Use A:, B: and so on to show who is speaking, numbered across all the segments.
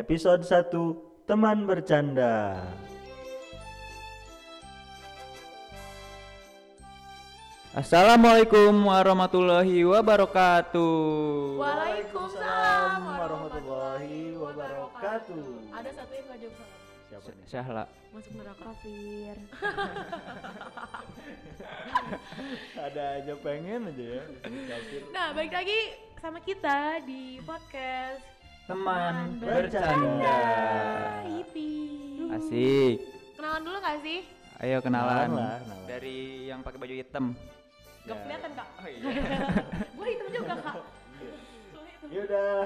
A: Episode 1 Teman Bercanda
B: Assalamualaikum warahmatullahi wabarakatuh.
A: Waalaikumsalam
C: Waalaikumsalam
A: warahmatullahi wabarakatuh.
C: Ada satu yang gak jawab salam.
A: Siapa nih?
B: Syahla.
C: Masuk neraka.
D: Kafir.
A: Ada aja pengen aja ya disebut kafir.
C: Nah, balik lagi sama kita di podcast
B: Teman
A: bercanda.
B: bercanda.
A: Eh.
C: Yipi.
B: Asik.
C: Kenalan dulu gak sih?
B: Ayo kenalan.
A: Kenalan lah, kenalan.
B: Dari yang pakai baju hitam.
C: Gak
A: Ya.
C: kelihatan kak.
B: Oh iya.
C: Gue hitam juga kak.
A: Ya udah,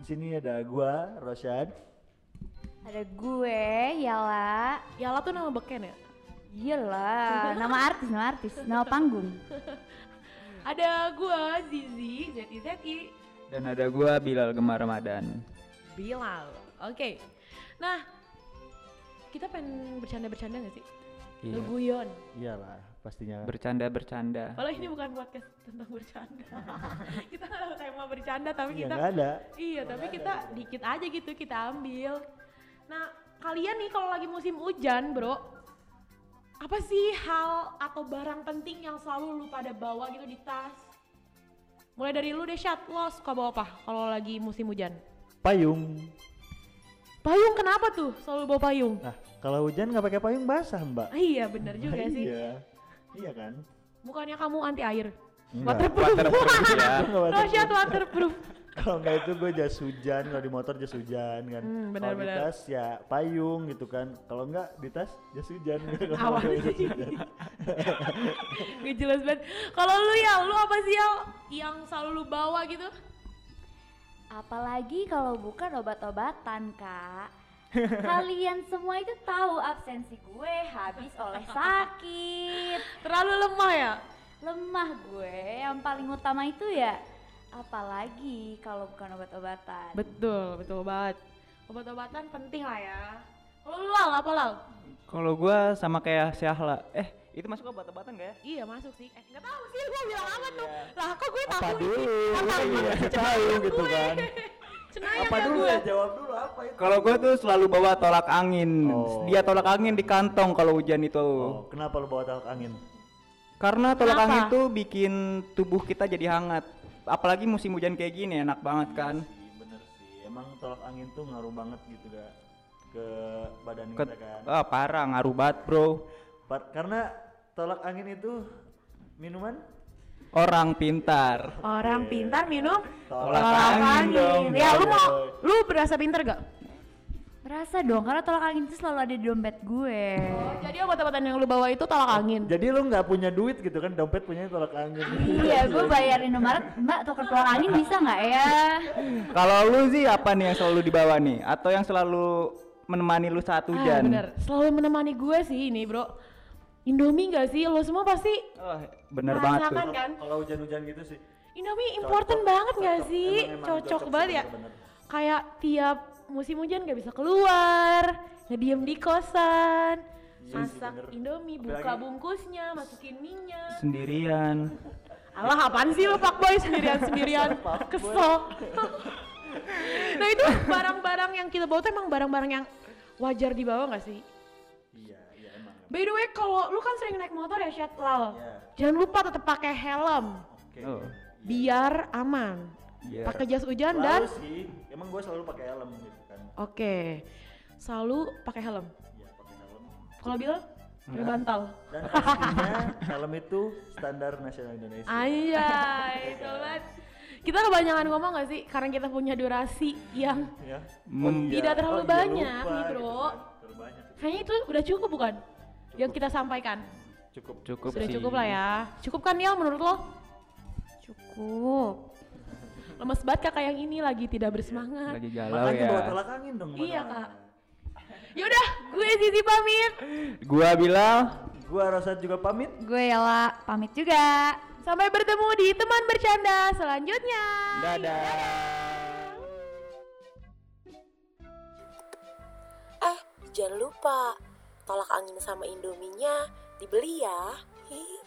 A: di sini ada gua Roshan.
D: Ada gue, Yala.
C: Yala tuh nama beken ya?
D: Iyalah, nama artis, nama artis, nama panggung.
C: Ada gue Zizi, ZIZI,
B: Dan ada gua Bilal Gemar Ramadan.
C: Bilal. Oke. Nah, kita pengen bercanda-bercanda gak sih?
B: Iya.
C: Leguyon.
A: Iyalah, pastinya.
B: Bercanda bercanda.
C: Kalau ini bukan podcast tentang bercanda. kita nggak ada tema bercanda, tapi
A: Iya
C: kita
A: nggak ada.
C: Iya, tapi kita dikit aja gitu kita ambil. Nah, kalian nih kalau lagi musim hujan, Bro, apa sih hal atau barang penting yang selalu lu pada bawa gitu di tas? Mulai dari lu deh, Syat. Lo suka bawa apa kalau lagi musim hujan?
A: Payung.
C: Payung kenapa tuh selalu bawa payung?
A: Nah, kalau hujan nggak pakai payung basah, Mbak.
C: Ah, iya, bener juga sih.
A: Nah, Iya. Iya kan?
C: Bukannya kamu anti air?
A: Enggak.
C: Waterproof.
B: Waterproof, ya.
A: Enggak
C: Lo
A: waterproof.
C: Syat waterproof.
A: Kalau nggak itu gue jas hujan, kalau di motor jas hujan kan.
C: Hmm,
A: kalau di
C: benar-benar.
A: tas ya payung gitu kan. Kalau nggak di tas jas hujan. gitu.
C: Apa sih? Gak jelas banget. Kalau lu ya, lu apa sih Yal? yang selalu lu bawa gitu?
D: Apalagi kalau bukan obat-obatan, Kak. Kalian semua itu tahu absensi gue habis oleh sakit.
C: Terlalu lemah ya?
D: Lemah gue, yang paling utama itu ya apalagi kalau bukan obat-obatan.
C: Betul, betul banget. Obat-obatan penting lah ya. Kalau lu lal, apa lal?
B: Kalau gua sama kayak Syahla. Eh, itu masuk obat-obatan gak ya?
C: Iya masuk sih. Eh nggak tahu sih, gua bilang apa tuh? Lah kok gue tahu?
A: Iya. Apa
C: ini?
A: dulu?
C: Apa
A: Iya,
C: gue?
A: tahu gitu
C: Gue.
A: kan.
C: Cenayang
A: Apa
C: ya
A: dulu
C: gue.
A: ya jawab dulu apa itu?
B: Kalau gua tuh selalu bawa tolak angin.
A: Oh.
B: Dia tolak angin di kantong kalau hujan itu.
A: Oh, kenapa lu bawa tolak angin?
B: Karena tolak
C: Kenapa?
B: angin tuh bikin tubuh kita jadi hangat. Apalagi musim hujan kayak gini enak banget kan.
A: Iya, bener sih. Emang tolak angin tuh ngaruh banget gitu gak ke badan
B: Ke,
A: kita kan.
B: ah, parah ngaruh banget bro.
A: Par- karena tolak angin itu minuman
B: Orang pintar.
C: Orang pintar minum
A: Iya. Tolak
B: angin dong.
C: Ya lu mau,
A: Boy.
C: lu berasa pintar gak?
D: Merasa dong, karena tolak angin itu selalu ada di dompet gue.
C: Jadi obat-obatan yang lu bawa itu tolak angin.
A: Oh, Jadi lu nggak punya duit gitu kan, dompet punya tolak angin.
D: iya, gue bayarin Indomaret, mbak tuker tolak angin bisa nggak ya?
B: Kalau lu sih apa nih yang selalu dibawa nih? Atau yang selalu menemani lu saat
C: Ah,
B: hujan?
C: bener. Selalu menemani gue sih ini, Bro. Indomie gak sih? Lo semua pasti
B: Oh, bener banget tuh.
C: merasakan kan?
A: Kalau hujan-hujan gitu sih.
C: Indomie important banget gak
A: Cocok.
C: sih?
A: Emang- emang
C: cocok,
A: sih,
C: banget ya.
A: bener-bener.
C: Kayak tiap musim hujan gak bisa keluar, ngediem di kosan,
A: Iya sih,
C: masak
A: bener.
C: Indomie,
A: Apalagi-
C: buka bungkusnya, masukin minyak.
B: Sendirian.
C: Alah apaan sih lo fuckboy sendirian-sendirian, kesel. nah itu barang-barang yang kita bawa tuh emang barang-barang yang wajar dibawa gak sih?
A: Iya, iya emang.
C: By the way, kalau lu kan sering naik motor ya, Syat Lal.
A: Iya.
C: Jangan lupa tetap pakai helm
A: Oke.
B: Oh.
C: biar aman.
A: Iya.
B: Biar-
C: Pakai jas hujan
A: Selalu
C: dan
A: sih, emang gue selalu pakai helm gitu kan.
C: oke. Selalu pakai helm.
A: Iya, pakai helm.
C: Kalau bilang pakai bantal.
A: Dan pastinya helm itu standar nasional Indonesia.
C: Anjay, sobat. Kita kebanyakan ngomong gak sih? Karena kita punya durasi yang
A: ya.
B: Mem-
C: Tidak terlalu
A: iya,
C: banyak nih, Bro.
A: kan. Terlalu banyak.
C: kayaknya itu udah cukup bukan? Yang kita sampaikan.
A: Cukup.
B: Cukup
C: Sudah
B: sih.
C: cukup lah ya. Cukup kan Niel menurut lo?
D: Cukup.
C: Lemes banget kakak yang ini lagi tidak bersemangat.
B: Lagi galau
A: Makanya
B: ya.
A: bawa tolak angin dong.
C: Iya,
A: teman-teman.
C: Kak. Yaudah, gue Sisi pamit.
B: Gua Bilal.
A: Gua rasa juga pamit.
D: Gue Yela pamit juga.
C: Sampai bertemu di teman bercanda selanjutnya.
B: Dadah.
E: Eh, jangan lupa, tolak angin sama indominya dibeli ya. Hihi.